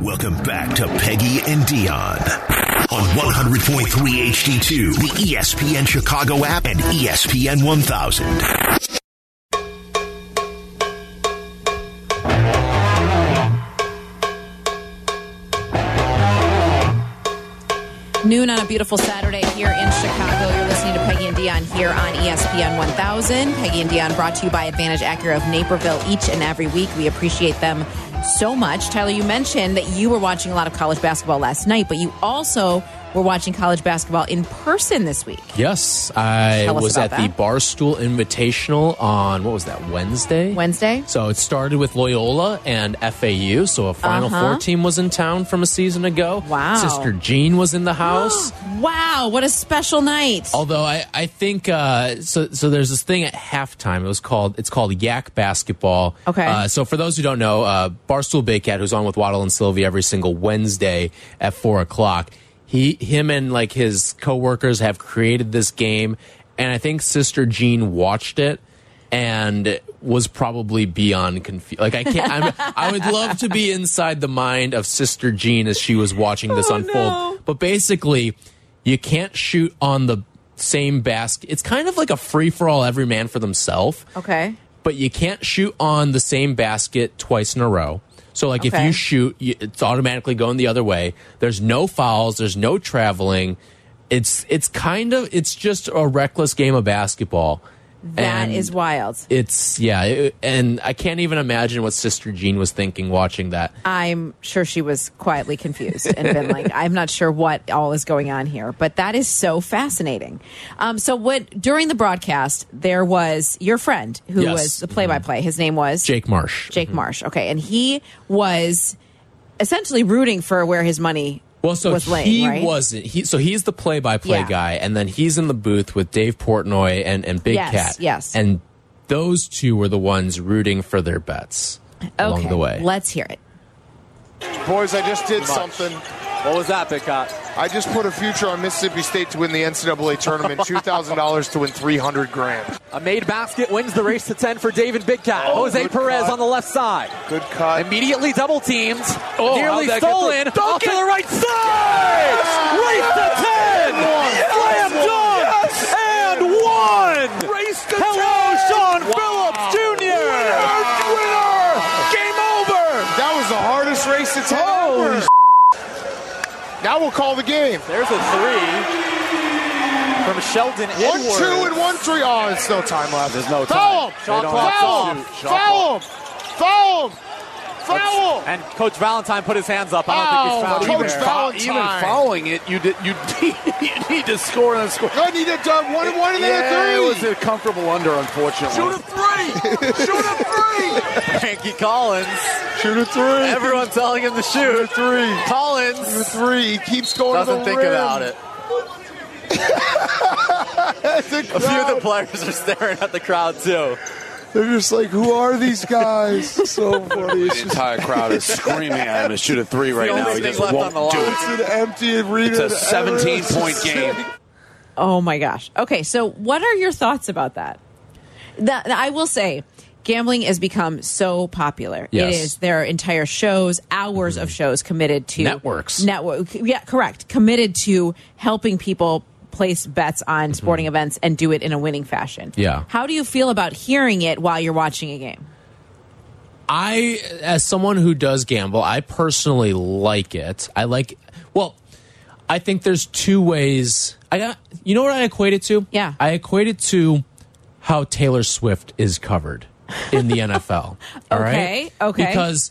Welcome back to Peggy and Dion on 100.3 HD2, the E ESPN Chicago app, and E ESPN 1000. Noon on a beautiful Saturday here in Chicago. You're listening to Peggy and Dion here on E ESPN 1000. Peggy and Dion brought to you by Advantage Acura of Naperville each and every week. We appreciate them so much. Tyler, you mentioned that you were watching a lot of college basketball last night, but you also were watching college basketball in person this week. Yes, I Tell us was at about the that. Barstool Invitational on what was that Wednesday? Wednesday? So it started with Loyola and FAU. So a Final Four Uh-huh. team was in town from a season ago. Wow. Sister Jean was in the house. Wow, what a special night. Although I, I think uh, so. So there's this thing at halftime. It was called. It's called Yak Basketball. Okay. Uh, so for those who don't know, uh, Barstool Big Cat, who's on with Waddle and Sylvie every single Wednesday at four o'clock, he, him, and like his coworkers have created this game, and I think Sister Jean watched it and was probably beyond confused. Like I can't. I'm, I would love to be inside the mind of Sister Jean as she was watching this Oh, unfold. no. But basically, you can't shoot on the same basket. It's kind of like a free for all, every man for themselves. Okay. But you can't shoot on the same basket twice in a row. So, like, if Okay. you shoot, you, it's automatically going the other way. There's no fouls. There's no traveling. It's it's kind of it's just a reckless game of basketball. that And is wild. It's yeah, it- and I can't even imagine what Sister Jean was thinking watching that. I'm sure she was quietly confused and been like, I'm not sure what all is going on here, but that is so fascinating. Um, so what during the broadcast there was your friend who Yes. was the play-by-play. His name was Jake Marsh. Jake Mm-hmm. Marsh. Okay, and he was essentially rooting for where his money Well, so was laying. he right? wasn't. He so he's the play-by-play Yeah. guy, and then he's in the booth with Dave Portnoy and and Big Yes, Cat. yes. and those two were the ones rooting for their bets along Okay, the way. Let's hear it. Boys, I just did something. What was that, Big Cop? I just put a future on Mississippi State to win the NCAA tournament. Two thousand dollars to win three hundred grand. A made basket wins the race to 10 for David Big Cat. Oh, Jose good Perez cut. on the left side. Good cut. Immediately double teamed. nearly how'd that get stolen. through? Off to the right side. Race to 10. Slam dunk. And one. Race to Hello, 10. Sean Phillips Jr. That was the hardest race it's had. Now we'll call the game. There's a three from Sheldon One, Edwards. two, and one, three. Oh, it's no time left. There's no Foul him! time. Foul They don't have Foul to him! shoot. Shot Foul him! Foul him! Foul him! And Coach Valentine put his hands up. I don't think Foul. he's Coach fouled Valentine. even following it, you did you, you need to score and score. Good, he did done one and one and yeah, then it a was three. a comfortable under, unfortunately. three. Shoot a three. Frankie Collins. Shoot a three. Everyone telling him to shoot. three. Collins Three. He keeps going to Doesn't the think rim. about it. The A few of the crowd, players are staring at the crowd too. They're just like, who are these guys? so funny. It's The just entire crowd is screaming at him to shoot a three right the now. He only thing just left won't on the line. do it. it's an empty arena. It's a that everyone's 17 point just game. sitting- Oh my gosh. Okay, so what are your thoughts about that? That I will say, gambling has become so popular. Yes. Mm-hmm. It is there are entire shows, hours of shows committed to Networks. Network, yeah, correct. Committed to helping people place bets on sporting events and do it in a winning fashion. Mm-hmm. Yeah. How do you feel about hearing it while you're watching a game? I, as someone who does gamble, I personally like it. I like. Well, I think there's two ways. I got. You know what I equate it to? Yeah. I equate it to how Taylor Swift is covered in the NFL. All right. Okay, okay. Because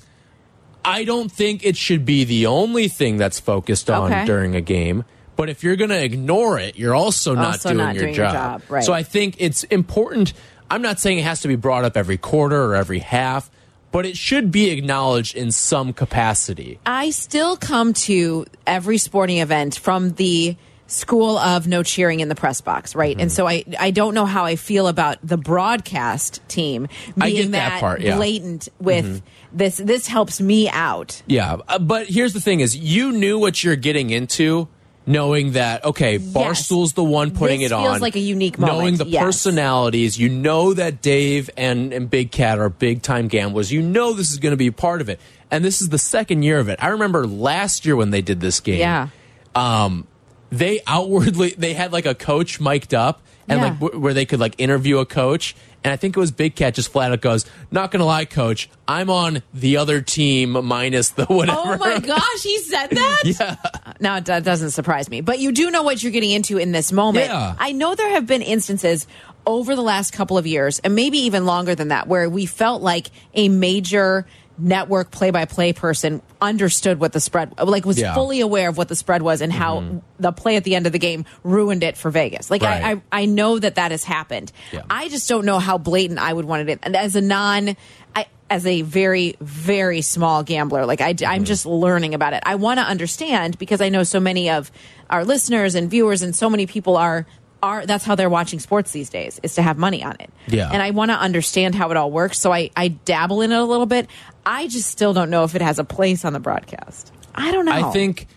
I don't think it should be the only thing that's focused on Okay. during a game. But if you're going to ignore it, you're also not Also doing, not your, doing your job. job, right. So I think it's important. I'm not saying it has to be brought up every quarter or every half, but it should be acknowledged in some capacity. I still come to every sporting event from the school of no cheering in the press box, right? Mm-hmm. And so I I don't know how I feel about the broadcast team being I get that part, yeah. Mm-hmm. blatant with this this helps me out. Yeah, uh, but here's the thing: is you knew what you're getting into, knowing that okay, Barstool's the one putting This it on. feels like a unique Knowing moment, the yes. personalities, you know that Dave and, and Big Cat are big time gamblers. You know this is going to be part of it. and this is the second year of it. I remember last year when they did this game. Yeah. Um, they outwardly they had like a coach mic'd up and Yeah. like w- where they could like interview a coach. And I think it was Big Cat just flat out goes, "Not gonna lie, coach, I'm on the other team minus the whatever." Oh my gosh, he said that? yeah. Now, it do- doesn't surprise me. But you do know what you're getting into in this moment. Yeah. I know there have been instances over the last couple of years, and maybe even longer than that, where we felt like a major network play by play person understood what the spread like was Yeah. Mm-hmm. fully aware of what the spread was and how the play at the end of the game ruined it for Vegas. Like I, Right. I I know that that has happened. Yeah. I just don't know how blatant I would want it and as a non I as a very very small gambler like I, Mm-hmm. am just learning about it i want to understand because i know so many of our listeners and viewers and so many people are are that's how they're watching sports these days is to have money on it Yeah. and i want to understand how it all works so i i dabble in it a little bit i just still don't know if it has a place on the broadcast i don't know I think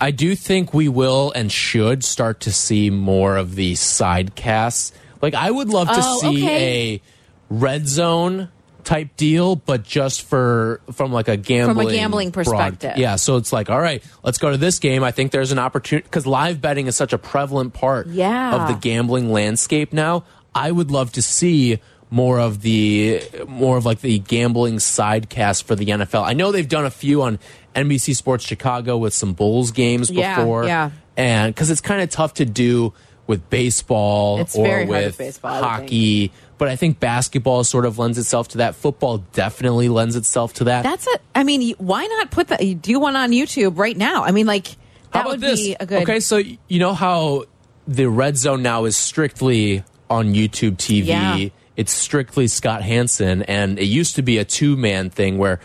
I do think we will and should start to see more of the side casts. Like I would love to Oh, see okay. a red zone type deal, but just for from like a gambling gambling broad- perspective. yeah. So it's like, all right, let's go to this game. I think there's an opportunity because live betting is such a prevalent part Yeah. of the gambling landscape now. I would love to see more of the more of like the gambling sidecast for the NFL. I know they've done a few on NBC Sports Chicago with some Bulls games Yeah, before, yeah. and because it's kind of tough to do with baseball It's or very hard with with baseball, I would hockey. But I think basketball sort of lends itself to that. Football definitely lends itself to that. That's it. I mean, you- why not put that? You do one on YouTube right now. I mean, like that How about would this? be a good. Okay, so y- you know how the red zone now is strictly on YouTube TV. Yeah. It's strictly Scott Hansen, and it used to be a two man thing where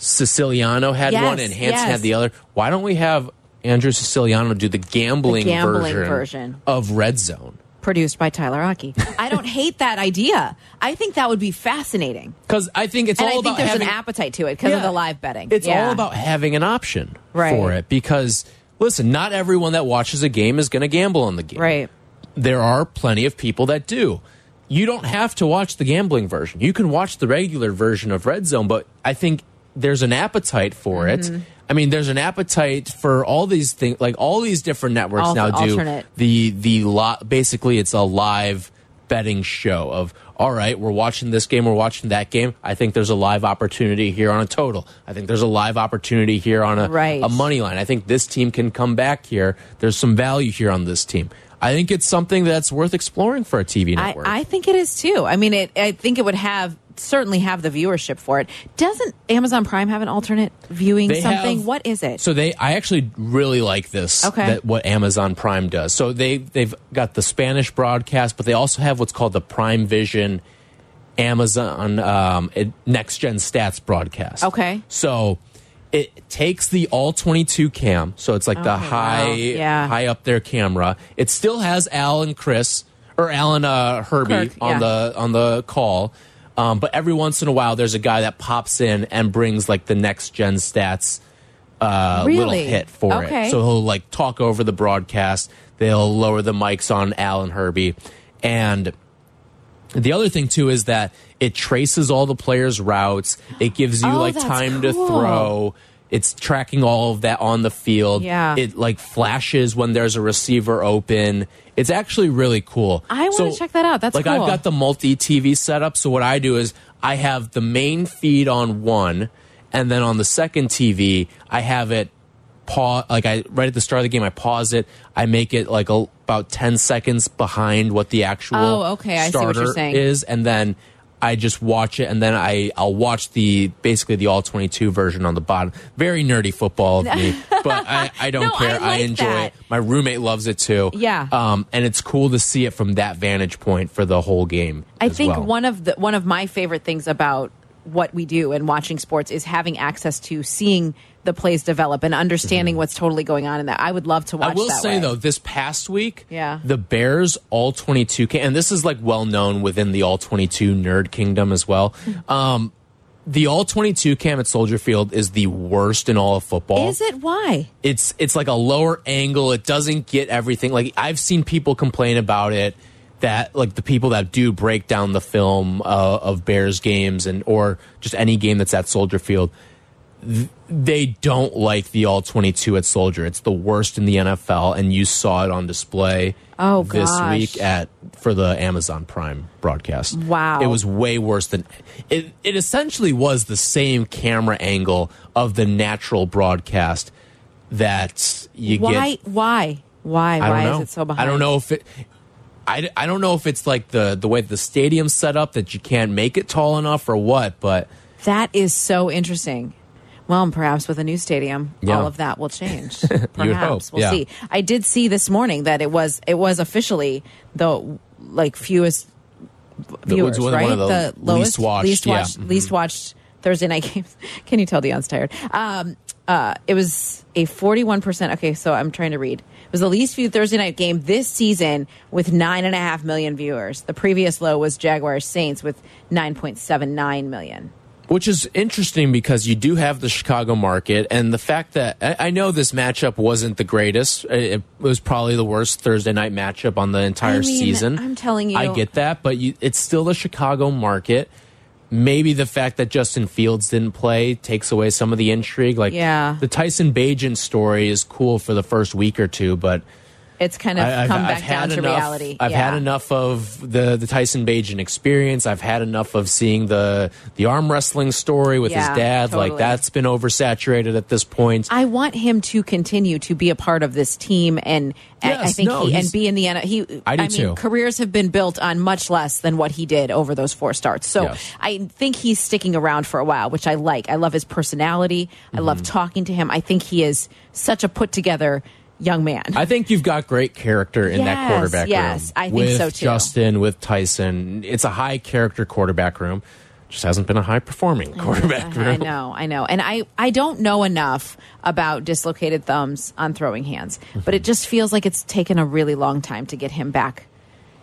Siciliano had Yes, one and Hansen yes. had the other. Why don't we have Andrew Siciliano do the gambling, The gambling version. of Red Zone? produced by Tyler Aki. I don't hate that idea. I think that would be fascinating, Because I think it's and all I think about there's having an appetite to it because of Yeah. the live betting. It's Yeah. all about having an option Right. for it because listen, not everyone that watches a game is going to gamble on the game. right. there are plenty of people that do. You don't have to watch the gambling version. You can watch the regular version of Red Zone, but I think there's an appetite for Mm-hmm. it. I mean, there's an appetite for all these things, like all these different networks Al- now do alternate. the the lot. Basically, it's a live betting show of all right, we're watching this game, we're watching that game. I think there's a live opportunity here on a total. I think there's a live opportunity here on a Right. a money line. I think this team can come back here. There's some value here on this team. I think it's something that's worth exploring for a TV I, network. I think it is too. I mean, it. I think it would have certainly have the viewership for it. Doesn't Amazon Prime have an alternate viewing They something? have- what is it? So they, I actually really like this. Okay. That what Amazon Prime does. So they they've got the Spanish broadcast, but they also have what's called the Prime Vision Amazon um, it- Next Gen Stats broadcast. Okay. So it takes the all twenty two cam, so it's like the high Oh, wow. Yeah. high up there camera. It still has Al and Chris or Alan uh, Herbie Kirk, on yeah. the uh, on the call. Um, but every once in a while, there's a guy that pops in and brings like the next gen stats uh, little Really? hit for Okay. it. So he'll like talk over the broadcast. They'll lower the mics on Alan Herbie. And the other thing too is that it traces all the players' routes. It gives you Oh, like that's time to cool. throw. It's tracking all of that on the field. Yeah. It like flashes when there's a receiver open. It's actually really cool. I wanna check that out. That's like I've cool. got the multi TV setup. So what I do is I have the main feed on one, and then on the second TV I have it pause. Like I right at the start of the game, I pause it. I make it like a, about ten seconds behind what the actual Oh, okay. I see what starter you're saying. is, and then. I just watch it, and then I I'll watch the basically the all twenty two version on the bottom. Very nerdy football of me, but I, I don't No, I care. like enjoy that. it. My roommate loves it too. Yeah. Um, and it's cool to see it from that vantage point for the whole game. I as think well. one of the one of my favorite things about what we do and watching sports is having access to seeing the plays develop and understanding what's totally going on in that. I would love to watch. Mm-hmm. I will that say way. though, this past week, Yeah. the Bears all twenty two, and this is like well known within the all twenty two nerd kingdom as well. Hmm. Um, the all twenty two cam at Soldier Field is the worst in all of football. is it why? It's it's like a lower angle. It doesn't get everything. Like I've seen people complain about it. that like the people that do break down the film uh, of Bears games and or just any game that's at Soldier Field, th they don't like the all twenty two at Soldier. It's the worst in the NFL, and you saw it on display Oh, this gosh. week at for the Amazon Prime broadcast. Wow. it was way worse than it. It essentially was the same camera angle of the natural broadcast that you why? get why? Why? I don't Why know. is it so behind? I don't know if it. I, I don't know if it's like the the way the stadium's set up that you can't make it tall enough or what, but That is so interesting. Well, and perhaps with a new stadium, Yeah. all of that will change. Perhaps hope, we'll yeah. see. I did see this morning that it was it was officially the like fewest The- viewers, one right? of the the least lowest, watched, least yeah. Mm-hmm. watched, least watched Thursday night games. Can you tell Dion's tired? Um, uh, it was a forty-one percent. Okay, so I'm trying to read. It was the least viewed Thursday night game this season with nine and a half million viewers. The previous low was Jaguars Saints with nine point seven nine million. which is interesting because you do have the Chicago market and the fact that I, I know this matchup wasn't the greatest. It, it was probably the worst Thursday night matchup on the entire I mean, season. I'm telling you. I get that, but you, it's still the Chicago market. Maybe the fact that Justin Fields didn't play takes away some of the intrigue. Like, Yeah. the Tyson Bajan story is cool for the first week or two, but It's kind of come back down had to enough- reality. I've Yeah. had enough of the the Tyson Bajan experience. I've had enough of seeing the the arm wrestling story with Yeah, his dad. Like totally. that's been oversaturated at this point. I want him to continue to be a part of this team, and and I Yes, think no, he, and he's- be in the N He, I do mean, too. Careers have been built on much less than what he did over those four starts. So Yes. I think he's sticking around for a while, which I like. I love his personality. I love Mm-hmm. talking to him. I think he is such a put together young man. I think you've got great character in that Yes, quarterback room. yes, I think with so, too. Justin with Tyson, it's a high character quarterback room. Just hasn't been a high performing quarterback Uh-huh, I room. know, I know. And I, I don't know enough about dislocated thumbs on throwing hands, but it just feels like it's taken a really long time to get him back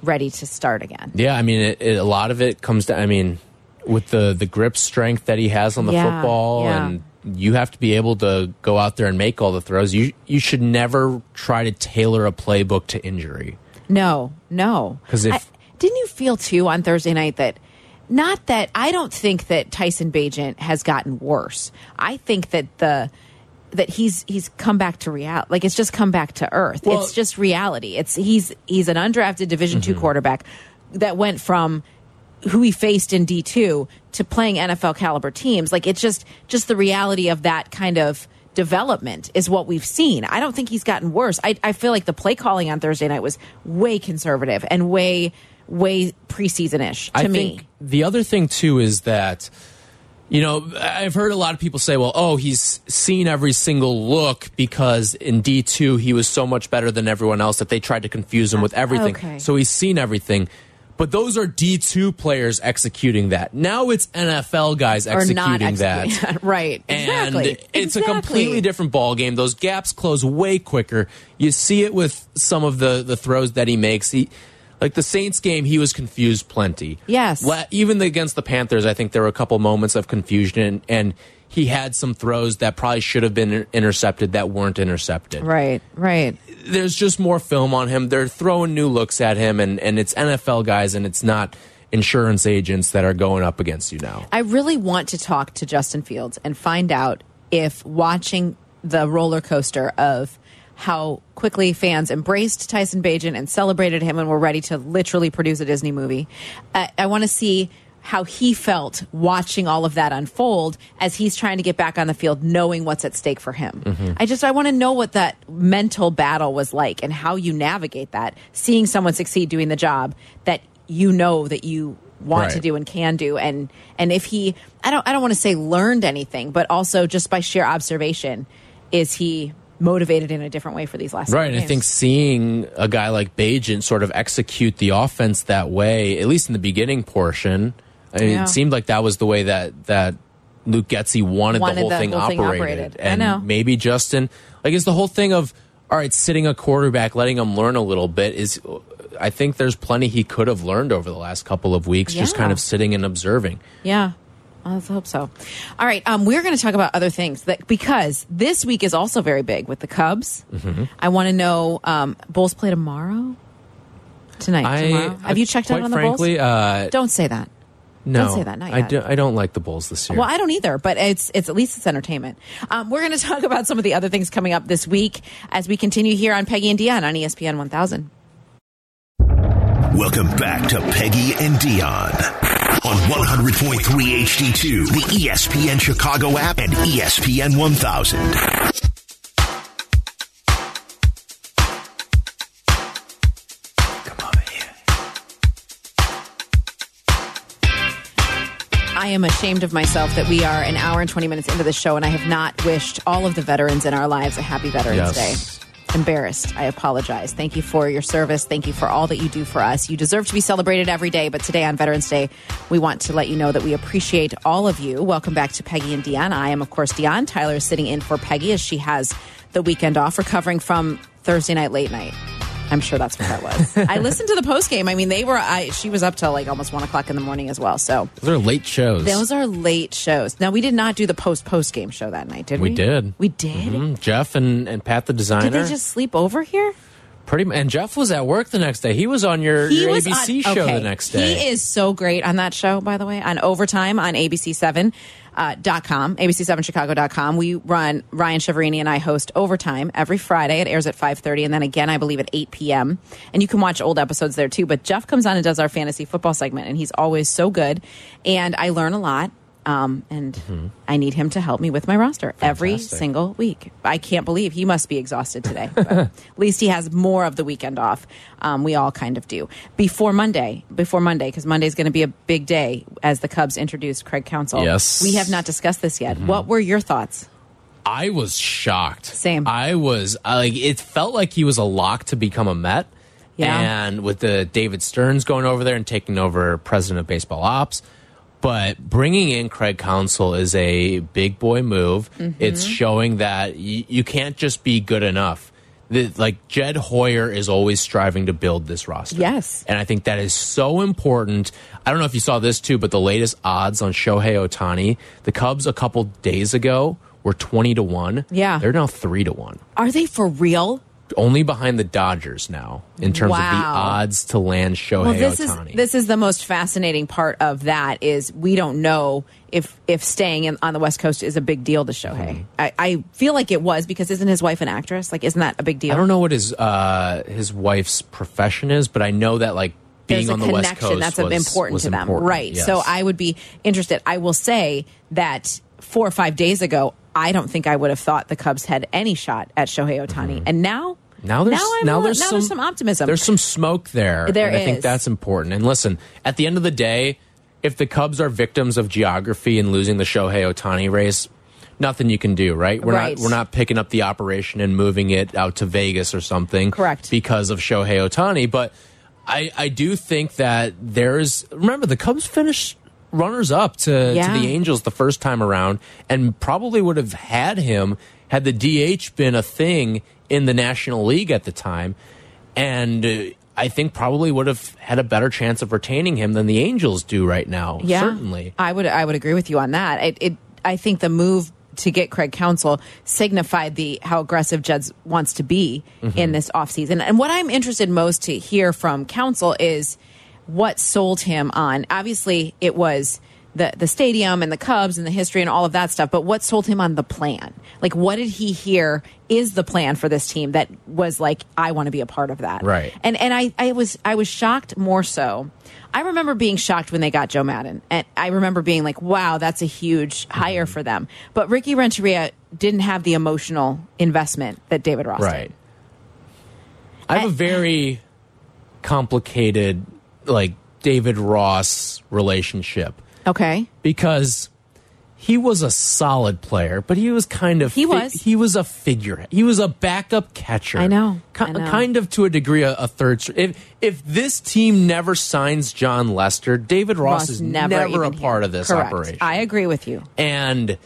ready to start again. Yeah, I mean, it, it, a lot of it comes down. I mean, with the the grip strength that he has on the Yeah, football, yeah. and you have to be able to go out there and make all the throws. You you should never try to tailor a playbook to injury. No, no. 'Cause if- I- didn't you feel too on Thursday night that not that I don't think that Tyson Bajent has gotten worse. I think that the that he's he's come back to reality. Like it's just come back to earth. Well- Mm-hmm. it's just reality. It's he's he's an undrafted Division two quarterback that went from who he faced in D two to playing NFL caliber teams. Like it's just just the reality of that kind of development is what we've seen. I don't think he's gotten worse. I, I feel like the play calling on Thursday night was way conservative and way way preseason ish to I me. think the other thing too is that you know I've heard a lot of people say, well, oh, he's seen every single look because in D two he was so much better than everyone else that they tried to confuse him with everything. Ah, Okay. So he's seen everything. But those are D two players executing that. Now it's NFL guys or not executing that. executing- right. And exactly. it's a Exactly. completely different ball game. Those gaps close way quicker. You see it with some of the the throws that he makes. He like the Saints game, he was confused plenty. Yes. La- even against the Panthers, I think there were a couple moments of confusion, and, and he had some throws that probably should have been intercepted that weren't intercepted. Right, right. There's just more film on him. They're throwing new looks at him, and and it's NFL guys, and it's not insurance agents that are going up against you now. I really want to talk to Justin Fields and find out if watching the roller coaster of how quickly fans embraced Tyson Bajan and celebrated him and were ready to literally produce a Disney movie. Uh, I want to see how he felt watching all of that unfold as he's trying to get back on the field knowing what's at stake for him. I just I want to know what that mental battle was like and how you navigate that seeing someone succeed doing the job that you know that you want to Right. do and can do and and if he i don't i don't want to say learned anything but also just by sheer observation is he motivated in a different way for these last Right, and games? I think seeing a guy like Bajan sort of execute the offense that way, at least in the beginning portion, I mean, Yeah. it seemed like that was the way that that Luke Getzey wanted, Wanted the whole the thing whole thing operated. operated. I And know. maybe Justin, like, it's the whole thing of all right, sitting a quarterback, letting him learn a little bit is. I think there's plenty he could have learned over the last couple of weeks, just Yeah. kind of sitting and observing. yeah let's hope so all right um we're going to talk about other things that because this week is also Mm-hmm. very big with the cubs i want to know um bulls play tomorrow tonight, tomorrow? Have you checked out quite on the frankly, Bulls? Uh, Don't say that. no, say that, not I, yet. do, I don't like the Bulls this year. Well, I don't either, but it's it's at least it's entertainment. Um, we're going to talk about some of the other things coming up this week as we continue here on Peggy and Dion on E ESPN 1000. Welcome back to Peggy and Dion on 100.3 HD2, the E ESPN Chicago app and E ESPN 1000. I am ashamed of myself that we are an hour and 20 minutes into the show, and I have not wished all of the veterans in our lives a happy Veterans Yes. Day. Embarrassed. I apologize. Thank you for your service. Thank you for all that you do for us. You deserve to be celebrated every day, but today on Veterans Day, we want to let you know that we appreciate all of you. Welcome back to Peggy and Dion. I am, of course, Dion. Tyler is sitting in for Peggy as she has the weekend off, recovering from Thursday night late night. I'm sure that's what that was. I listened to the post game. I mean, they were. I she was up till like almost one o'clock in the morning as well. So Those are late shows. those are late shows. Now we did not do the post post game show that night, did we? We did. We did. Mm, Jeff and, and Pat the designer. Did they just sleep over here? pretty mu- and Jeff was at work the next day. He was on your, your was ABC on- show okay. the next day. He is so great on that show, by the way, on overtime on ABC7. Uh, dot com abc7chicago.com we run ryan shiverini and i host overtime every friday it airs at 5.30 and then again i believe at 8 p.m and you can watch old episodes there too but jeff comes on and does our fantasy football segment and he's always so good and i learn a lot um, and i need him to help me with my roster every Mm-hmm. Fantastic. single week i can't believe he must be exhausted today but- at least he has more of the weekend off. Um, we all kind of do before Monday, before Monday, because Monday's going to be a big day as the Cubs introduce Craig Counsell. Yes. we have not discussed this yet. What were your thoughts? I was shocked. Same. I was I, like, it felt like he was a lock to become a Met. Yeah. And with the David Stearns going over there and taking over president of baseball ops, but bringing in Craig Counsell is a big boy move. Mm-hmm. It's showing that y- you can't just be good enough. The, like Jed Hoyer is always striving to build this roster. Yes. And I think that is so important. I don't know if you saw this too, but the latest odds on Shohei Otani, the Cubs a couple days ago were 20 to 1. Yeah. They're now 3 to 1. Are they for real? Only behind the Dodgers now in terms of the Wow. odds to land Shohei Well, this Otani. is this is the most fascinating part of that is we don't know if if staying in, on the West Coast is a big deal to Shohei. I, I feel like it was because isn't his wife an actress? Like, isn't that a big deal? I don't know what his uh, his wife's profession is, but I know that like being There's a on the connection that's West Coast was, important was to them, important, right? yes. So I would be interested. I will say that four or five days ago, I don't think I would have thought the Cubs had any shot at Shohei Otani, and now Mm-hmm. Now there's now, I'm a- there's, now some, there's some optimism. There's some smoke there. There and I think is. that's important. And listen, at the end of the day, if the Cubs are victims of geography and losing the Shohei Otani race, nothing you can do, right? We're Right. not we're not picking up the operation and moving it out to Vegas or something. Correct. Because of Shohei Otani. But I, I do think that there's remember the Cubs finished runners up to, Yeah. to the Angels the first time around and probably would have had him had the DH been a thing in the National League at the time. And uh, I think probably would have had a better chance of retaining him than the Angels do right now. yeah, Certainly. I would I would agree with you on that. It, it I think the move to get Craig Counsell signified the how aggressive Judds wants to be Mm-hmm. in this offseason. And what I'm interested most to hear from Counsell is what sold him on. Obviously, it was the the stadium and the Cubs and the history and all of that stuff, but what sold him on the plan? Like what did he hear is the plan for this team that was like I want to be a part of that. Right. And and I, I was I was shocked more so. I remember being shocked when they got Joe Madden. And I remember being like, wow, that's a huge Mm-hmm. hire for them. But Ricky Renteria didn't have the emotional investment that David Ross Right. did. I have I- a very complicated, like, David Ross relationship Okay. because he was a solid player, but he was kind of He was. he was a figurehead. He was a backup catcher. I know. Ki- I know. kind of to a degree a, a third. str- If if this team never signs John Lester, David Ross, is never, a even here. part of this Correct. operation I agree with you. and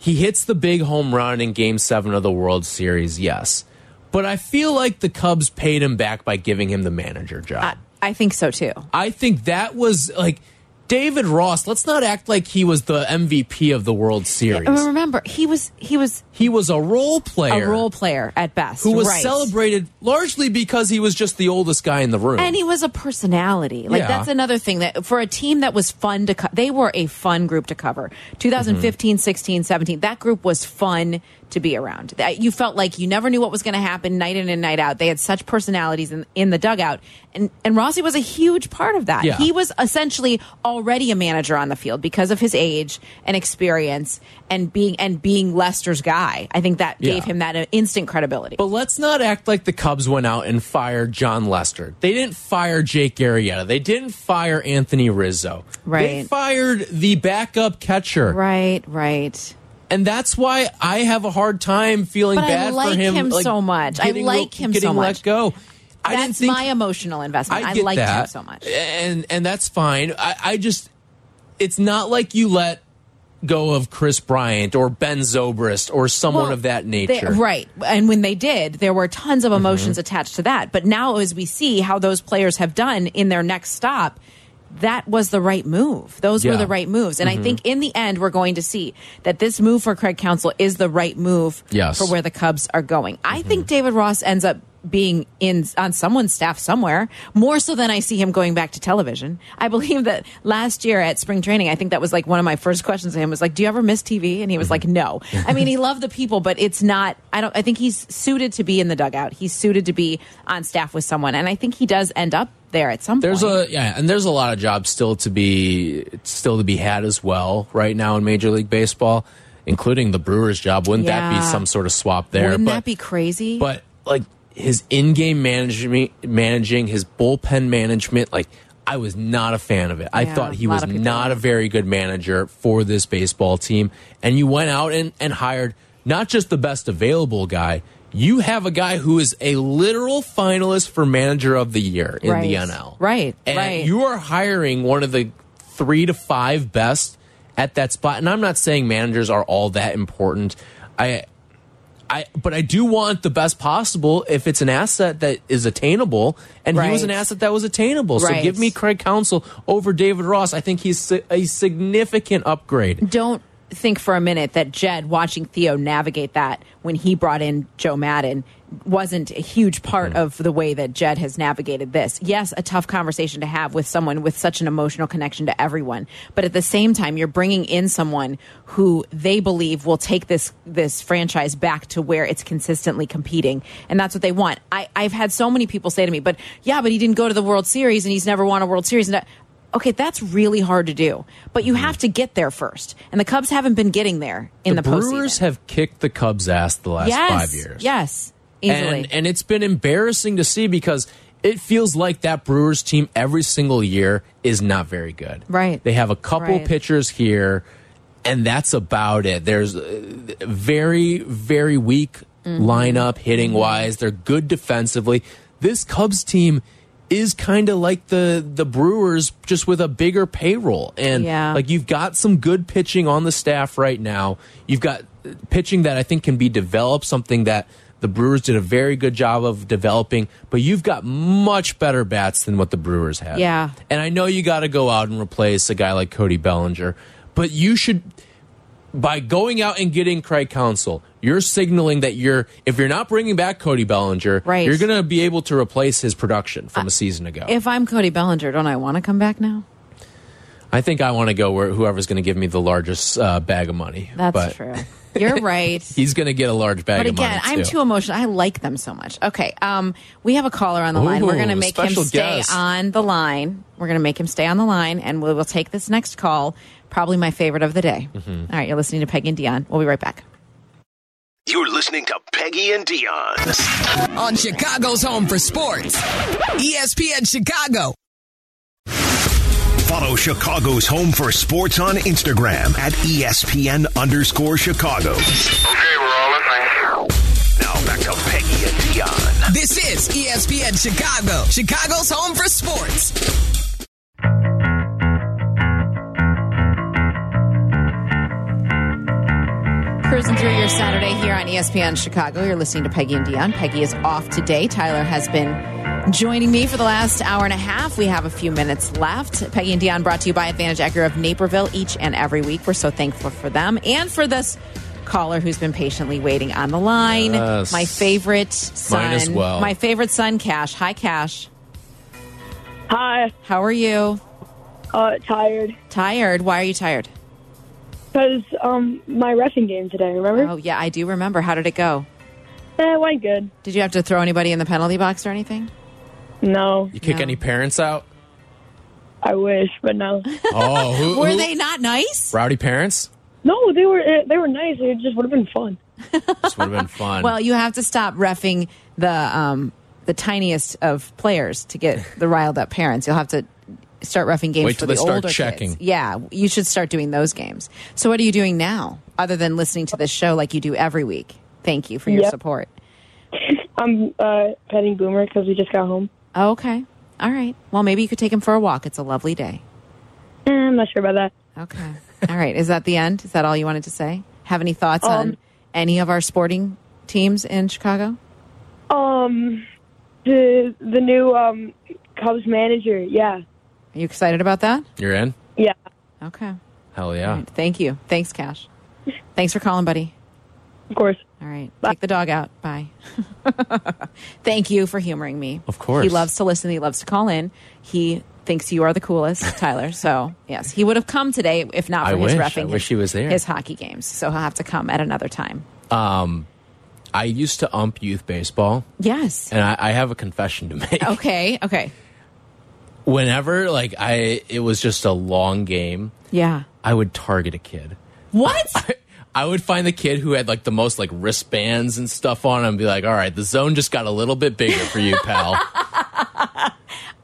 he hits the big home run in game seven of the World Series, yes. But I feel like the Cubs paid him back by giving him the manager job. I, I think so too. I think that was like David Ross, let's not act like he was the MVP of the World Series. And remember, he was he was he was a role player. Um, a role player at best, who was right. celebrated largely because he was just the oldest guy in the room. And he was a personality. Like Yeah. that's another thing that for a team that was fun to co- they were a fun group to cover. 2015, Mm-hmm. 16, 17. That group was fun to be around. That you felt like you never knew what was going to happen night in and night out. They had such personalities in in the dugout. And and Rossi was a huge part of that. Yeah. He was essentially already a manager on the field because of his age and experience and being and being Lester's guy. I think that gave Yeah. him that uh, instant credibility. But let's not act like the Cubs went out and fired John Lester. They didn't fire Jake Arrieta. They didn't fire Anthony Rizzo. They Right. fired the backup catcher. right, right. And that's why I have a hard time feeling But I bad for like him. him like, so much. I getting- like him so getting much. let go. I didn't That's think my emotional investment. I, get liked him that. Eh, so much. and and that's fine. I, I just, it's not like you let go of Chris Bryant or Ben Zobrist or someone Well, of that they- nature. Mm-hmm. right. And when they did, there were tons of emotions attached to that. But now, as we see how those players have done in their next stop, that was the right move. Those were Yeah. Mm-hmm. the right moves. And I think in the end, we're going to see that this move for Craig Council is the right move Yes. for where the Cubs are going. I Mm-hmm. think David Ross ends up being in on someone's staff somewhere more so than I see him going back to television. I believe that last year at spring training, I think that was like one of my first questions to him was like, "Do you ever miss TV?" And he Mm-hmm. was like, "No." I mean, he loved the people, but it's not. I don't. I think he's suited to be in the dugout. He's suited to be on staff with someone, and I think he does end up there at some There's point. a yeah, and there's a lot of jobs still to be still to be had as well right now in Major League Baseball, including the Brewers job. Wouldn't that be Yeah. some sort of swap there? Wouldn't but, that be crazy? But like his in-game management, managing his bullpen management, like I was not a fan of it. I Yeah, thought he a lot was of people not were. a very good manager for this baseball team. And you went out and and hired not just the best available guy. You have a guy who is a literal finalist for manager of the year in the Right. NL. Right, And right. you are hiring one of the three to five best at that spot. And I'm not saying managers are all that important. I I but I do want the best possible if it's an asset that is attainable. And he was Right. an asset that was attainable. So Right. give me Craig Council over David Ross. I think he's si- a significant upgrade. don't think for a minute that Jed watching Theo navigate that when he brought in Joe Madden wasn't a huge part of the way that Jed has navigated this. Yes, a tough conversation to have with someone with such an emotional connection to everyone, but at the same time you're bringing in someone who they believe will take this this franchise back to where it's consistently competing and that's what they want. I I've had so many people say to me, "But yeah, but he didn't go to the World Series and he's never won a World Series." And I- Okay, that's really hard to do, but you have to get there first, and the Cubs haven't been getting there in the, postseason. Brewers have kicked the Cubs' ass the last yes, five years. yes, easily. and and it's been embarrassing to see because it feels like that Brewers team every single year is not very good. Right. They have a couple Right. pitchers here, and that's about it. There's uh, very very weak Mm-hmm. lineup hitting wise. They're good defensively. This Cubs team is kind of like the the Brewers just with a bigger payroll and Yeah. like you've got some good pitching on the staff right now. You've got uh, pitching that I think can be developed, something that the Brewers did a very good job of developing, but you've got much better bats than what the Brewers had. Yeah. And I know you got to go out and replace a guy like Cody Bellinger, but you should by going out and getting Craig Council, you're signaling that you're if you're not bringing back Cody Bellinger, Right. you're going to be able to replace his production from a season ago. if I'm Cody Bellinger, don't I want to come back now? I think I want to go where whoever's going to give me the largest uh, bag of money. That's But true. You're right. He's going to get a large bag But of money. again, I'm too emotional. I like them so much. Okay, um, we have a caller on the line. We're going to Ooh, make him special stay guest. on the line. We're going to make him stay on the line, and we will take this next call. Probably my favorite of the day. Mm-hmm. All right, you're listening to Peggy and Dion. We'll be right back. You're listening to Peggy and Dion. on Chicago's Home for Sports. E ESPN Chicago. Follow Chicago's Home for Sports on Instagram at E ESPN underscore Chicago. Okay, we're all listening. Now back to Peggy and Dion. This is E ESPN Chicago, Chicago's Home for Sports. Cruising through your E Saturday here on ESPN Chicago. You're listening to Peggy and Dion. Peggy is off today. Tyler has been Joining me for the last hour and a half, we have a few minutes left. Peggy and Dion brought to you by Advantage Ecker of Naperville each and every week. We're so thankful for them and for this caller who's been patiently waiting on the line. Yes. My favorite son. Mine as well. My favorite son, Cash. Hi, Cash. Hi. How are you? Uh, tired. Tired. Why are you tired? Because um, my refing game today, remember? Oh, yeah, I do remember. How did it go? Eh, went good. Did you have to throw anybody in the penalty box or anything? No, You kick No. any parents out? I wish, but no. Oh, who, Were who- they not nice? rowdy parents? no, they were eh, they were nice. It just would have been fun. This would have been fun. Well, you have to stop refing the um, the tiniest of players to get the riled up parents. You'll have to start refing games Wait for till the they start older checking. kids. Yeah, you should start doing those games. So, what are you doing now, other than listening to this show like you do every week? Thank you for your Yep. support. I'm uh, petting Boomer because we just got home. Okay, all right. Well, maybe you could take him for a walk. It's a lovely day. Eh, I'm not sure about that. Okay, all right. Is that the end? Is that all you wanted to say? Have any thoughts on Um, any of our sporting teams in Chicago? Um, the the new um Cubs manager. Yeah, Are you excited about that? You're in? yeah. Okay. Hell yeah. All right, Thank you. Thanks, Cash. Thanks for calling, buddy. Of course. All right. Take the dog out. Bye. Thank you for humoring me. Of course. He loves to listen. He loves to call in. He thinks you are the coolest, Tyler. So, yes, he would have come today if not for I his wish. refing. I wish he was there. His hockey games. So he'll have to come at another time. I used to ump youth baseball, Yes. and I, I have a confession to make. Okay. Okay. Whenever like I, it was just a long game. Yeah. I would target a kid. What? I would find the kid who had like the most like wristbands and stuff on and be like, all right, the zone just got a little bit bigger for you, pal.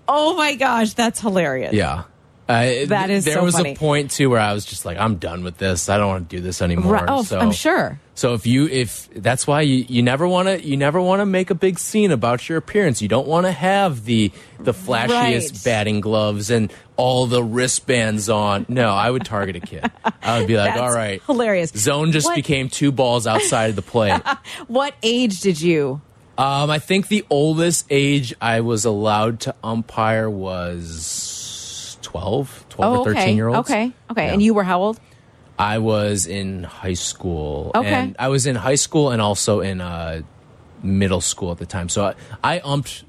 oh my gosh. That's hilarious. yeah. Uh, That is there so was funny. a point too where I was just like, I'm done with this. I don't want to do this anymore. Right. Oh, so, I'm sure. So if you if that's why you, you never want to you never want to make a big scene about your appearance. You don't want to have the the flashiest Right. batting gloves and all the wristbands on. No, I would target a kid. I would be like, That's all right, hilarious. Zone just What- became two balls outside of the plate. What age did you? Um, I think the oldest age I was allowed to umpire was 12, 12 Oh, or 13 okay. year olds. Okay. Okay. Yeah. And you were how old? I was in high school. Okay. And I was in high school and also in uh, middle school at the time. So I, I umped,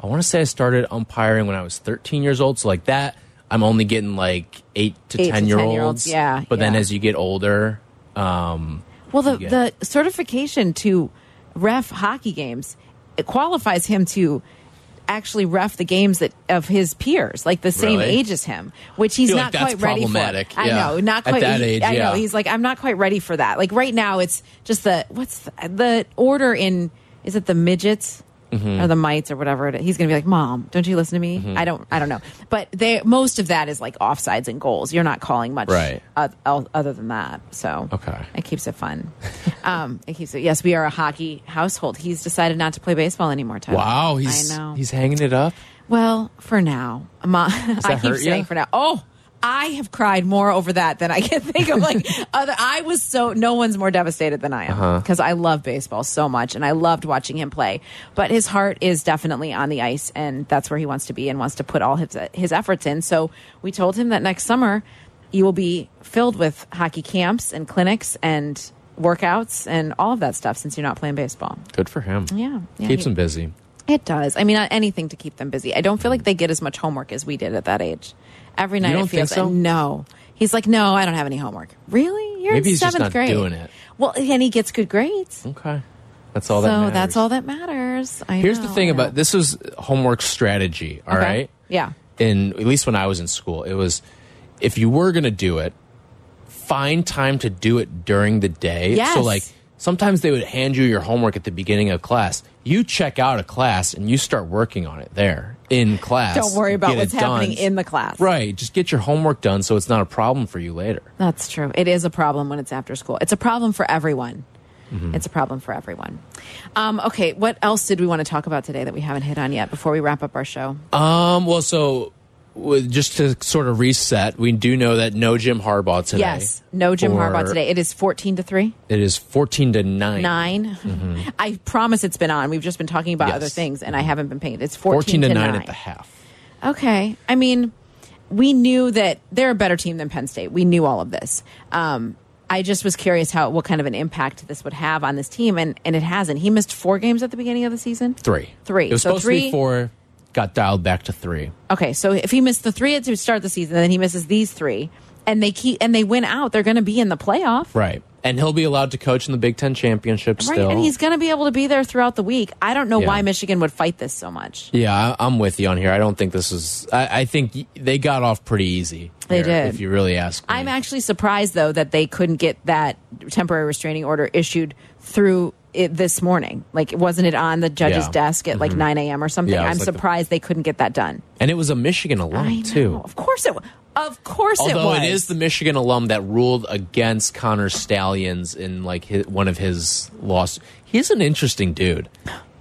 I want to say I started umpiring when I was 13 years old. So like that, I'm only getting like eight to Eight to 10 year 10-year-olds, olds. yeah, But then yeah. as you get older, um, Well, the, Yeah. the certification to ref hockey games it qualifies him to actually ref the games that of his peers, like the same Really? age as him, which he's Feel not like that's quite ready problematic, for. I yeah. know, not At quite. that he- age, I know. yeah. He's like, I'm not quite ready for that. Like right now, it's just the what's the, the order in? Is it the midgets? Mm-hmm. Or the mites, or whatever it is. He's gonna be like, "Mom, don't you listen to me? I don't, I don't know." But they, most of that is like offsides and goals. You're not calling much Right. oth- el- other than that. So Okay. it keeps it fun. um, it keeps it. Yes, we are a hockey household. He's decided not to play baseball anymore. Tyler. wow, he's, I know. he's hanging it up. well for now. Ma, I that keep hurt ya? saying for now. Oh. I have cried more over that than I can think of. Like other, I was so no one's more devastated than I Uh-huh. am because I love baseball so much and I loved watching him play. But his heart is definitely on the ice, and that's where he wants to be and wants to put all his his efforts in. So we told him that next summer you will be filled with hockey camps and clinics and workouts and all of that stuff since you're not playing baseball. Good for him. Yeah, yeah, Keeps he- him busy. It does. I mean, not anything to keep them busy. I don't feel like they get as much homework as we did at that age. Every night don't it feels think so? no. He's like, no, I don't have any homework. Really? You're Maybe in he's just seventh not grade. doing it. Well, and he gets good grades, Okay. That's all that so matters. that's all that matters. I Here's the know, thing I know. about this was homework strategy, All right, Oh, Okay. Yeah. In at least when I was in school, it was if you were going to do it, find time to do it during the day. Yes. So like sometimes they would hand you your homework at the beginning of class. You check out of class and you start working on it there in class. Don't worry about Get it what's happening done. in the class. Right. Just get your homework done so it's not a problem for you later. That's true. It is a problem when it's after school. It's a problem for everyone. Mm-hmm. It's a problem for everyone. Um, okay, what else did we want to talk about today that we haven't hit on yet before we wrap up our show? Um. Well, so w- just to sort of reset, we do know that no Jim Harbaugh today. Yes. No Jim Or Harbaugh today. It is 14 to 3. It is fourteen to nine. Mm-hmm. 9. I promise it's been on. We've just been talking about Yes. Mm-hmm. other things and I haven't been paying. It's 14, Fourteen to nine, at the half. Okay. I mean, we knew that they're a better team than Penn State. We knew all of this. Um, I just was curious how what kind of an impact this would have on this team, and, and it hasn't. He missed four games at the beginning of the season. Three. Three. It was So supposed to three- be four. Got dialed back to three. Okay, so if he missed the three at the start of the season, then he misses these three, and they keep and they win out, they're going to be in the playoff, Right. And he'll be allowed to coach in the Big Ten championship Right, still. and he's going to be able to be there throughout the week. I don't know Yeah. why Michigan would fight this so much. yeah, I, I'm with you on here. I don't think this is. I, I think y- they got off pretty easy. They here, did. If you really ask me. I'm actually surprised though that they couldn't get that temporary restraining order issued through it this morning. Like, wasn't it on the judge's Yeah. Mm-hmm. desk at like 9 a.m. or something? Yeah, it was I'm like the- surprised they couldn't get that done. and it was a Michigan alum I know. too. Of course it. wa- Of course it Although was. it is the Michigan alum that ruled against Connor Stallions in like his, one of his loss. He's an interesting dude.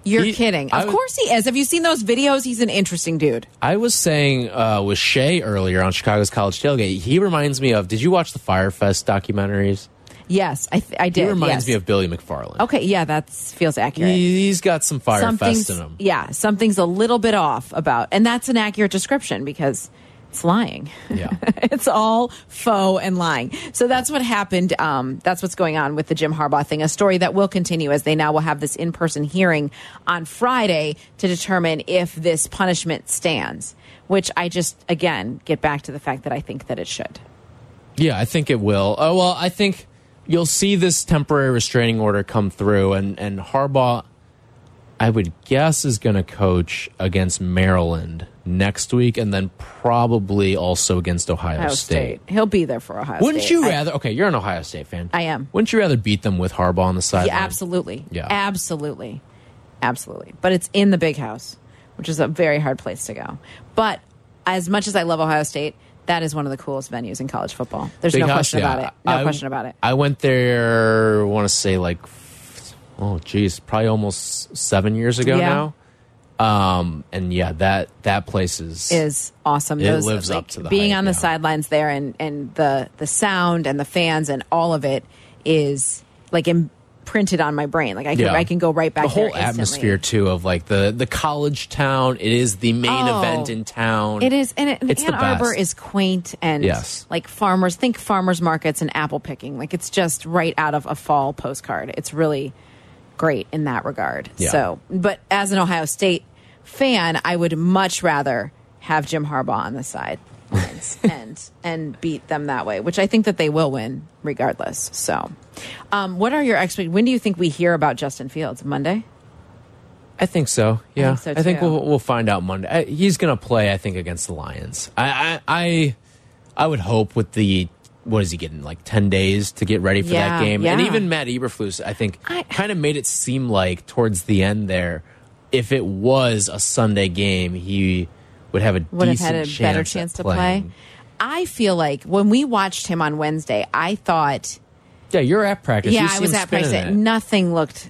You're he- kidding. I Of was- course he is. Have you seen those videos? He's an interesting dude. I was saying uh, with Shay earlier on Chicago's College Tailgate, he reminds me of. Did you watch the Firefest documentaries? Yes, I, th- I did. He reminds yes. me of Billy McFarland. Okay, yeah, that feels accurate. He, has got some Firefest something's in him. yeah, something's a little bit off about, and that's an accurate description because it's lying. Yeah. it's all faux and lying. So that's what happened. Um, that's what's going on with the Jim Harbaugh thing. A story that will continue as they now will have this in-person hearing on Friday to determine if this punishment stands. Which I just again get back to the fact that I think that it should. Yeah, I think it will. Oh well, I think you'll see this temporary restraining order come through, and and Harbaugh, I would guess, is going to coach against Maryland next week, and then probably also against Ohio, Ohio State. State. He'll be there for Ohio Wouldn't State. you I- rather? okay, you're an Ohio State fan. I am. Wouldn't you rather beat them with Harbaugh on the sideline? Yeah, absolutely. Yeah. Absolutely. Absolutely. But it's in the big house, which is a very hard place to go. But as much as I love Ohio State, that is one of the coolest venues in college football. There's Big no house, question yeah. about it. No I- question about it. I went there. I Want to say like, f- oh geez, probably almost seven years ago Yeah. now. Um, and yeah, that that place is is awesome. It lives up to the being hype, on the yeah. sidelines there and and the the sound and the fans and all of it is like imprinted on my brain. Like I can Yeah. I can go right back. the whole there instantly. atmosphere too of like the the college town it is the main Oh. event in town It is, and, it, and It's the Ann Arbor best. is quaint and Yes. like farmers. Think farmers markets and apple picking. Like it's just right out of a fall postcard. It's really great in that regard. Yeah. So, but as an Ohio State fan, I would much rather have Jim Harbaugh on the side lines and and beat them that way, which I think that they will win regardless. So, um, what are your expect? When do you think we hear about Justin Fields? Monday. i think so yeah think so, too. we'll, we'll find out monday I, he's gonna play i think against the lions I, I i i would hope with the what is he getting like 10 days to get ready for Yeah, that game and yeah. even matt eberflus i think I- kind of made it seem like towards the end there if it was a sunday game he would have a would have had decent a chance better at chance to playing. play. I feel like when we watched him on Wednesday, I thought, yeah you're at practice You yeah, see I was him at spinning practice. it. Nothing looked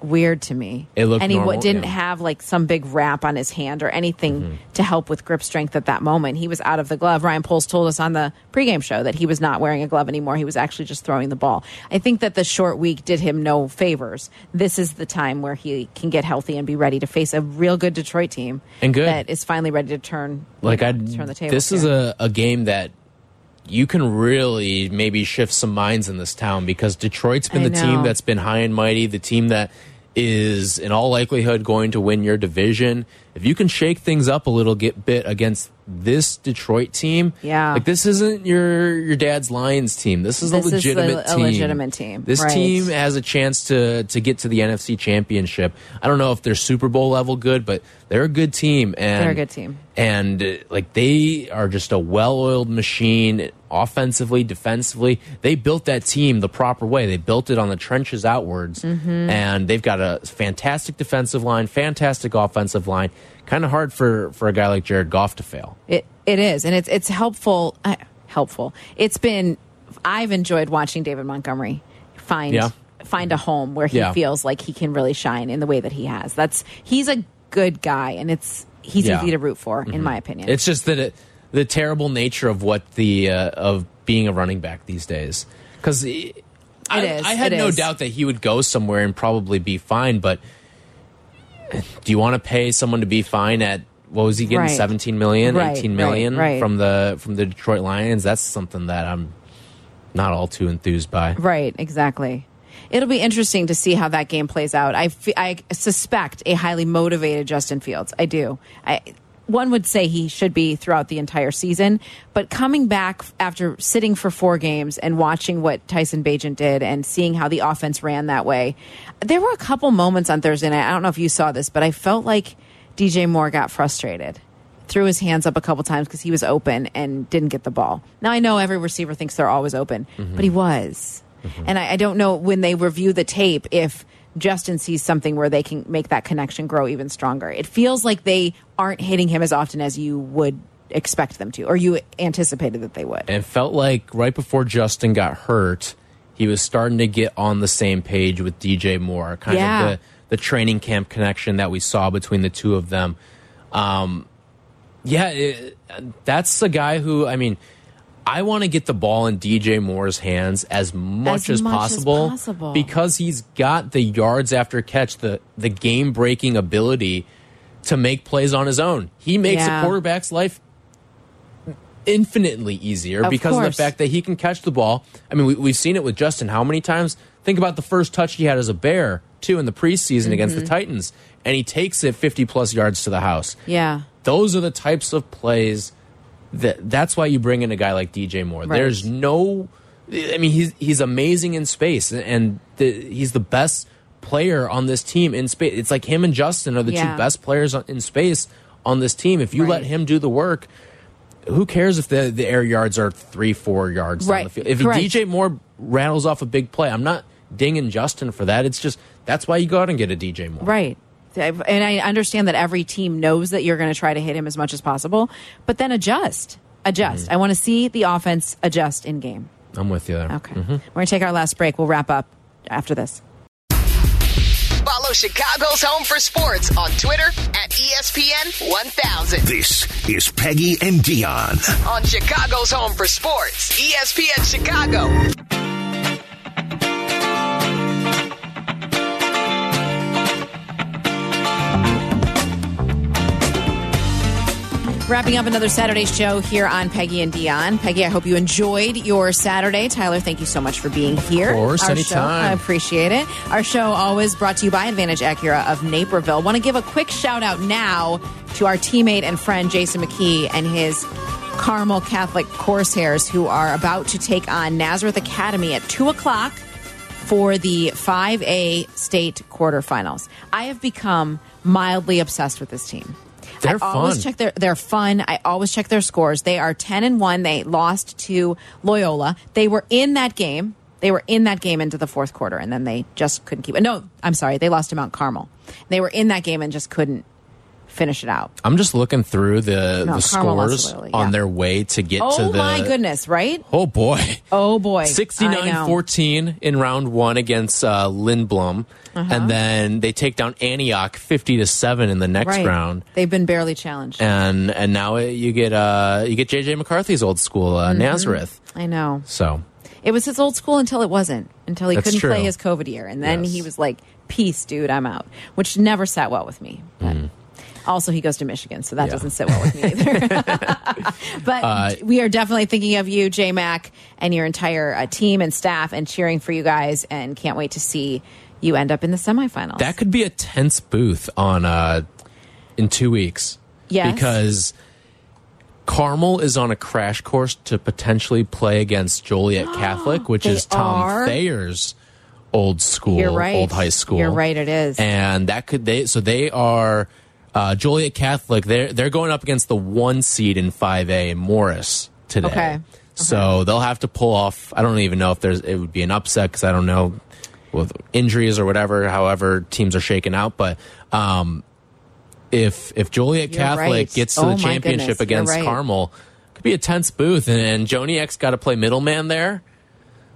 weird to me. It looked and he wa- normal, didn't yeah. Mm-hmm. have like some big wrap on his hand or anything to help with grip strength at that moment. He was out of the glove. Ryan Poles told us on the pregame show that he was not wearing a glove anymore. He was actually just throwing the ball. I think that the short week did him no favors. This is the time where he can get healthy and be ready to face a real good Detroit team And good. that is finally ready to turn like I turn the tables This is here. a, a game that you can really maybe shift some minds in this town because Detroit's been I the know. team that's been high and mighty, the team that is in all likelihood going to win your division. If you can shake things up a little get, bit against this Detroit team, Yeah. like this isn't your your dad's Lions team. This is This a is a- legitimate a team. legitimate team, This right. team has a chance to to get to the NFC Championship. I don't know if they're Super Bowl level good, but they're a good team. And They're a good team. and uh, like they are just a well-oiled machine offensively defensively they built that team the proper way they built it on the trenches outwards Mm-hmm. and they've got a fantastic defensive line fantastic offensive line kind of hard for for a guy like jared goff to fail It it is, and it's it's helpful. Uh, helpful. It's been. I've enjoyed watching David Montgomery find Yeah. find a home where he Yeah. feels like he can really shine in the way that he has. That's he's a good guy, and it's he's Yeah. Mm-hmm. easy to root for, in my opinion. it's just that it the terrible nature of what the uh, of being a running back these days. Because I, is, I had it no is. doubt that he would go somewhere and probably be fine. But do you want to pay someone to be fine at what was he getting? Right. Seventeen million, Right, eighteen million right, right. from the from the Detroit Lions. That's something that I'm not all too enthused by. Right, exactly. It'll be interesting to see how that game plays out. I fe- I suspect a highly motivated Justin Fields. I do. I one would say he should be throughout the entire season, but coming back after sitting for four games and watching what Tyson Bajent did and seeing how the offense ran that way, there were a couple moments on Thursday night. I don't know if you saw this, but I felt like DJ Moore got frustrated threw his hands up a couple times because he was open and didn't get the ball. Now I know every receiver thinks they're always open, but he was. And I, I don't know when they review the tape if Justin sees something where they can make that connection grow even stronger. It feels like they aren't hitting him as often as you would expect them to, or you anticipated that they would. and felt like right before Justin got hurt, he was starting to get on the same page with DJ Moore, kind Yeah. of the, the training camp connection that we saw between the two of them. Um, yeah, it, that's the guy who, I mean, I want to get the ball in DJ Moore's hands as much as, much as possible, possible. because he's got the yards after catch, the the game breaking ability to make plays on his own. He makes Yeah. a quarterback's life infinitely easier Of because of course. the fact that he can catch the ball. I mean, we, we've seen it with Justin how many times? Think about the first touch he had as a Bear, too, in the preseason against Mm-hmm. the Titans, and he takes it 50 plus yards to the house. Yeah. Those are the types of plays that that's why you bring in a guy like DJ Moore. Right. There's no I mean he's he's amazing in space and the, he's the best player on this team in space. It's like him and Justin are the Yeah. two best players on, in space on this team. If you let Right. him do the work, who cares if the, the air yards are 3 4 yards down Right. the field? If Correct. DJ Moore rattles off a big play, I'm not dinging Justin for that. It's just that's why you go out and get a DJ Moore. Right. And I understand that every team knows that you're going to try to hit him as much as possible, but then adjust. Adjust. I want to see the offense adjust in game. I'm with you there. Okay. We're going to take our last break. We'll wrap up after this. Follow Chicago's Home for Sports on Twitter at E ESPN 1000. This is Peggy and Dion. On Chicago's Home for Sports, E ESPN Chicago. Wrapping up another Saturday show here on Peggy and Dion. Peggy, I hope you enjoyed your Saturday. Tyler, thank you so much for being here. course, Our anytime. show- I appreciate it. Our show always brought to you by Advantage Acura of Naperville. Want to give a quick shout out now to our teammate and friend Jason McKee and his Carmel Catholic Corsairs, who are about to take on Nazareth Academy at two o'clock for the 5A state quarterfinals. I have become mildly obsessed with this team. They're I always fun. check their they're fun. I always check their scores. They are 10 and 1. They lost to Loyola. They were in that game. They were in that game into the fourth quarter and then they just couldn't keep it. No, I'm sorry. They lost to Mount Carmel. They were in that game and just couldn't finish it out. I'm just looking through the, No, the Carmel lost scores to Lily, yeah. on their way to get to Oh the. my goodness, right? Oh boy. Oh boy. I know. 69 14 in round one against uh, Lindblom. Uh-huh. And then they take down Antioch 50 to 7 in the next Right. round. They've been barely challenged. And and now uh, you get uh, you get JJ McCarthy's old school uh, Mm-hmm. Nazareth. I know. So It was his old school until it wasn't, until he That's couldn't play true. his COVID year. And then Yes. he was like, peace, dude, I'm out, which never sat well with me. But Also, he goes to Michigan, so that Hmm. Yeah. Uh, doesn't sit well with me either. but we are definitely thinking of you, J Mac, and your entire uh, team and staff and cheering for you guys. And can't wait to see you end up in the semifinals. That could be a tense booth on uh in two weeks. Yes. Because Carmel is on a crash course to potentially play against Joliet Catholic, which They is Tom are? Thayer's old school, You're right. old high school. You're right, it is. And that could they so they are uh, Joliet Catholic. They're they're going up against the one seed in five A in Morris today. Okay. So they'll have to pull off. I don't even know if there's it would be an upset because I don't know with injuries or whatever. However, teams are shaken out, but um, if if Joliet You're Catholic right. gets Oh, to the my goodness. championship You're against right. Carmel, could be a tense booth, and, and Joni X got to play middleman there.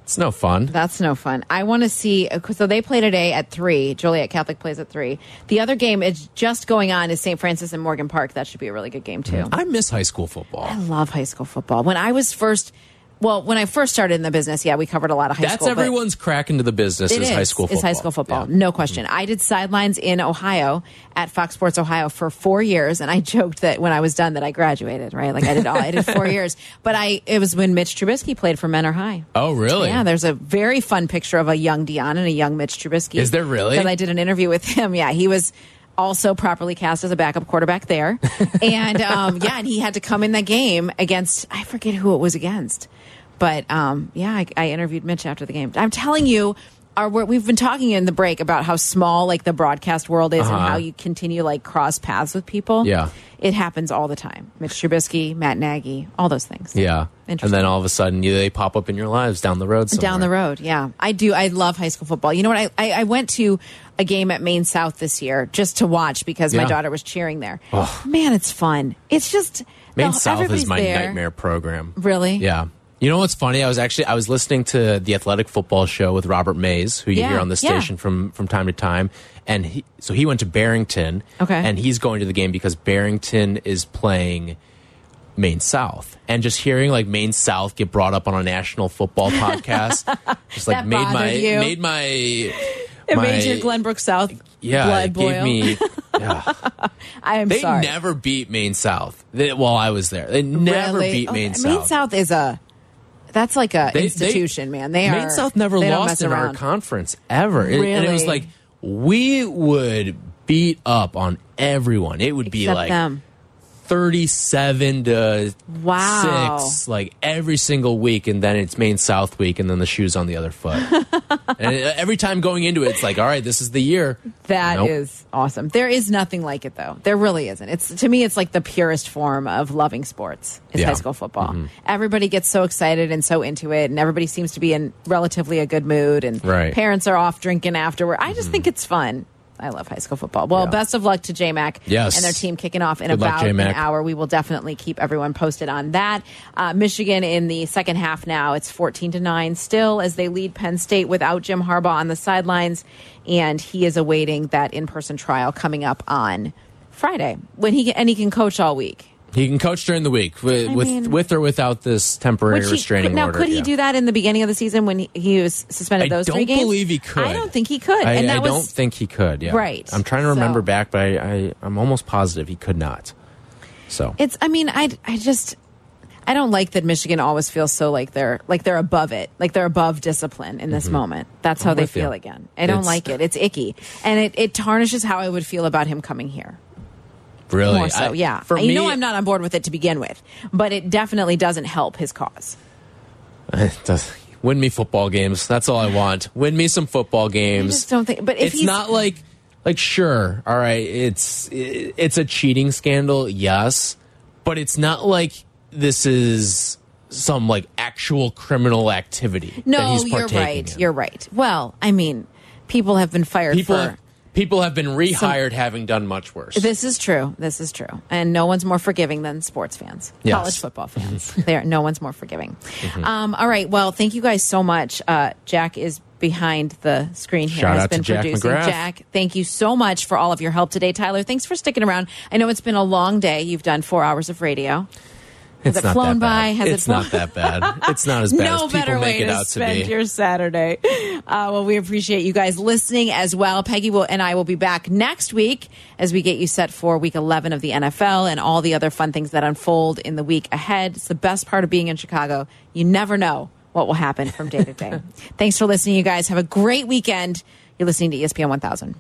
It's no fun. That's no fun. I want to see. uh, So they play today at three. Joliet Catholic plays at three. The other game is just going on is St. Francis and Morgan Park. That should be a really good game too. I miss high school football. I love high school football. When I was first, well, when I first started in the business, yeah, we covered a lot of high That's school. but- everyone's crack into the business It is, high school football. It's high school football, Yeah. no question. I did sidelines in Ohio at Fox Sports Ohio for four years, and I joked that when I was done that I graduated. Right, like I did all. I did four years, but I it was when Mitch Trubisky played for Men Are High. Oh, really? Yeah, there's a very fun picture of a young Dion and a young Mitch Trubisky. Is there really? That I did an interview with him. Yeah, he was also properly cast as a backup quarterback there, and um, yeah, and he had to come in the game against I forget who it was against, but um, yeah, I, I interviewed Mitch after the game. I'm telling you. Our, we're- we've been talking in the break about how small like the broadcast world is and Uh-huh. how you continue like cross paths with people. Yeah. it happens all the time. Mitch Trubisky, Matt Nagy, all those things. Yeah. And Interesting. then all of a sudden, you, they pop up in your lives down the road. Somewhere. Down the road, yeah. I do. I love high school football. You know what? I, I, I went to a game at Maine South this year just to watch because my Yeah. daughter was cheering there. Ugh. Man, it's fun. It's just Maine the- South is everybody's my there. nightmare program. Really? Yeah. You know what's funny? I was actually I was listening to the athletic football show with Robert Mays, who you Yeah, hear on the yeah. station from from time to time, and he, so he went to Barrington. Okay. And he's going to the game because Barrington is playing Maine South, and just hearing like Maine South get brought up on a national football podcast, just like That made my bothered you. made my it It made your Glenbrook South yeah blood it gave boil. me. yeah. I am They sorry. never beat Maine South they, while I was there. They never Really? beat Oh, Maine South. Maine South is a that's like a They- they- institution, man. They Maine are South never they don't lost mess in our around. conference ever. It- and it was Really? like we would beat up on everyone. It would be Except like them. thirty-seven to Wow. six, like every single week, and then it's Maine South week, and then the shoes on the other foot. and every time going into it, it's like, all right, this is the year. That is Nope. awesome. There is nothing like it though. There really isn't. It's to me it's like the purest form of loving sports is Yeah. Mm-hmm. high school football. Everybody gets so excited and so into it and everybody seems to be in relatively a good mood and Right. Mm-hmm. parents are off drinking afterward. I just think it's fun. I love high school football. Well, Yeah. best of luck to JMac Yes. and their team kicking off in Good luck, about an JMac. hour. We will definitely keep everyone posted on that. Uh, Michigan in the second half now, it's 14 to 9 still as they lead Penn State without Jim Harbaugh on the sidelines. And he is awaiting that in person trial coming up on Friday when he can, and he can coach all week. He can coach during the week with I with, mean- with or without this temporary Which he- restraining now, order. could he Yeah. do that in the beginning of the season when he, he was suspended I those don't three games? believe he could. I don't think he could. I, and that I was, don't think he could. Yeah, Right. I'm trying to remember So- back, but I, I I'm almost positive he could not. So It's. I mean, I. I just. I don't like that Michigan always feels so like they're like they're above it, like they're above discipline in this moment. That's how Mm-hmm. I'm they with you. feel again. I don't It's- like it. It's icky, and it, it tarnishes how I would feel about him coming here. really, More so, Oh, I- yeah. For you me, know, I'm not on board with it to begin with, but it definitely doesn't help his cause. It does- win me football games. That's all I want. Win me some football games. just don't think- but if it's he's- not like like sure, all right, it's it, it's a cheating scandal, yes, but it's not like this is some like actual criminal activity. that No, he's you're partaking right. in. You're right. Well, I mean, people have been fired people. for. People have been rehired having done much worse. This is true. This is true. And no one's more forgiving than sports fans, Yes. Mm-hmm. college football fans. there, no one's more forgiving. Um, all right. Well, thank you guys so much. Uh, Jack is behind the screen here. Shout has out to been Jack producing. McGrath. Jack, thank you so much for all of your help today, Tyler. Thanks for sticking around. I know it's been a long day. You've done four hours of radio. Has It's it not flown that bad. by? Has it it's flown- not that bad. It's not as bad no as better people way make it to out to spend be. your Saturday. Uh, well, we appreciate you guys listening as well. Peggy will and I will be back next week as we get you set for Week 11 of the NFL and all the other fun things that unfold in the week ahead. It's the best part of being in Chicago. You never know what will happen from day to E day. Thanks for listening, you guys. Have a great weekend. You're listening to ESPN 1000.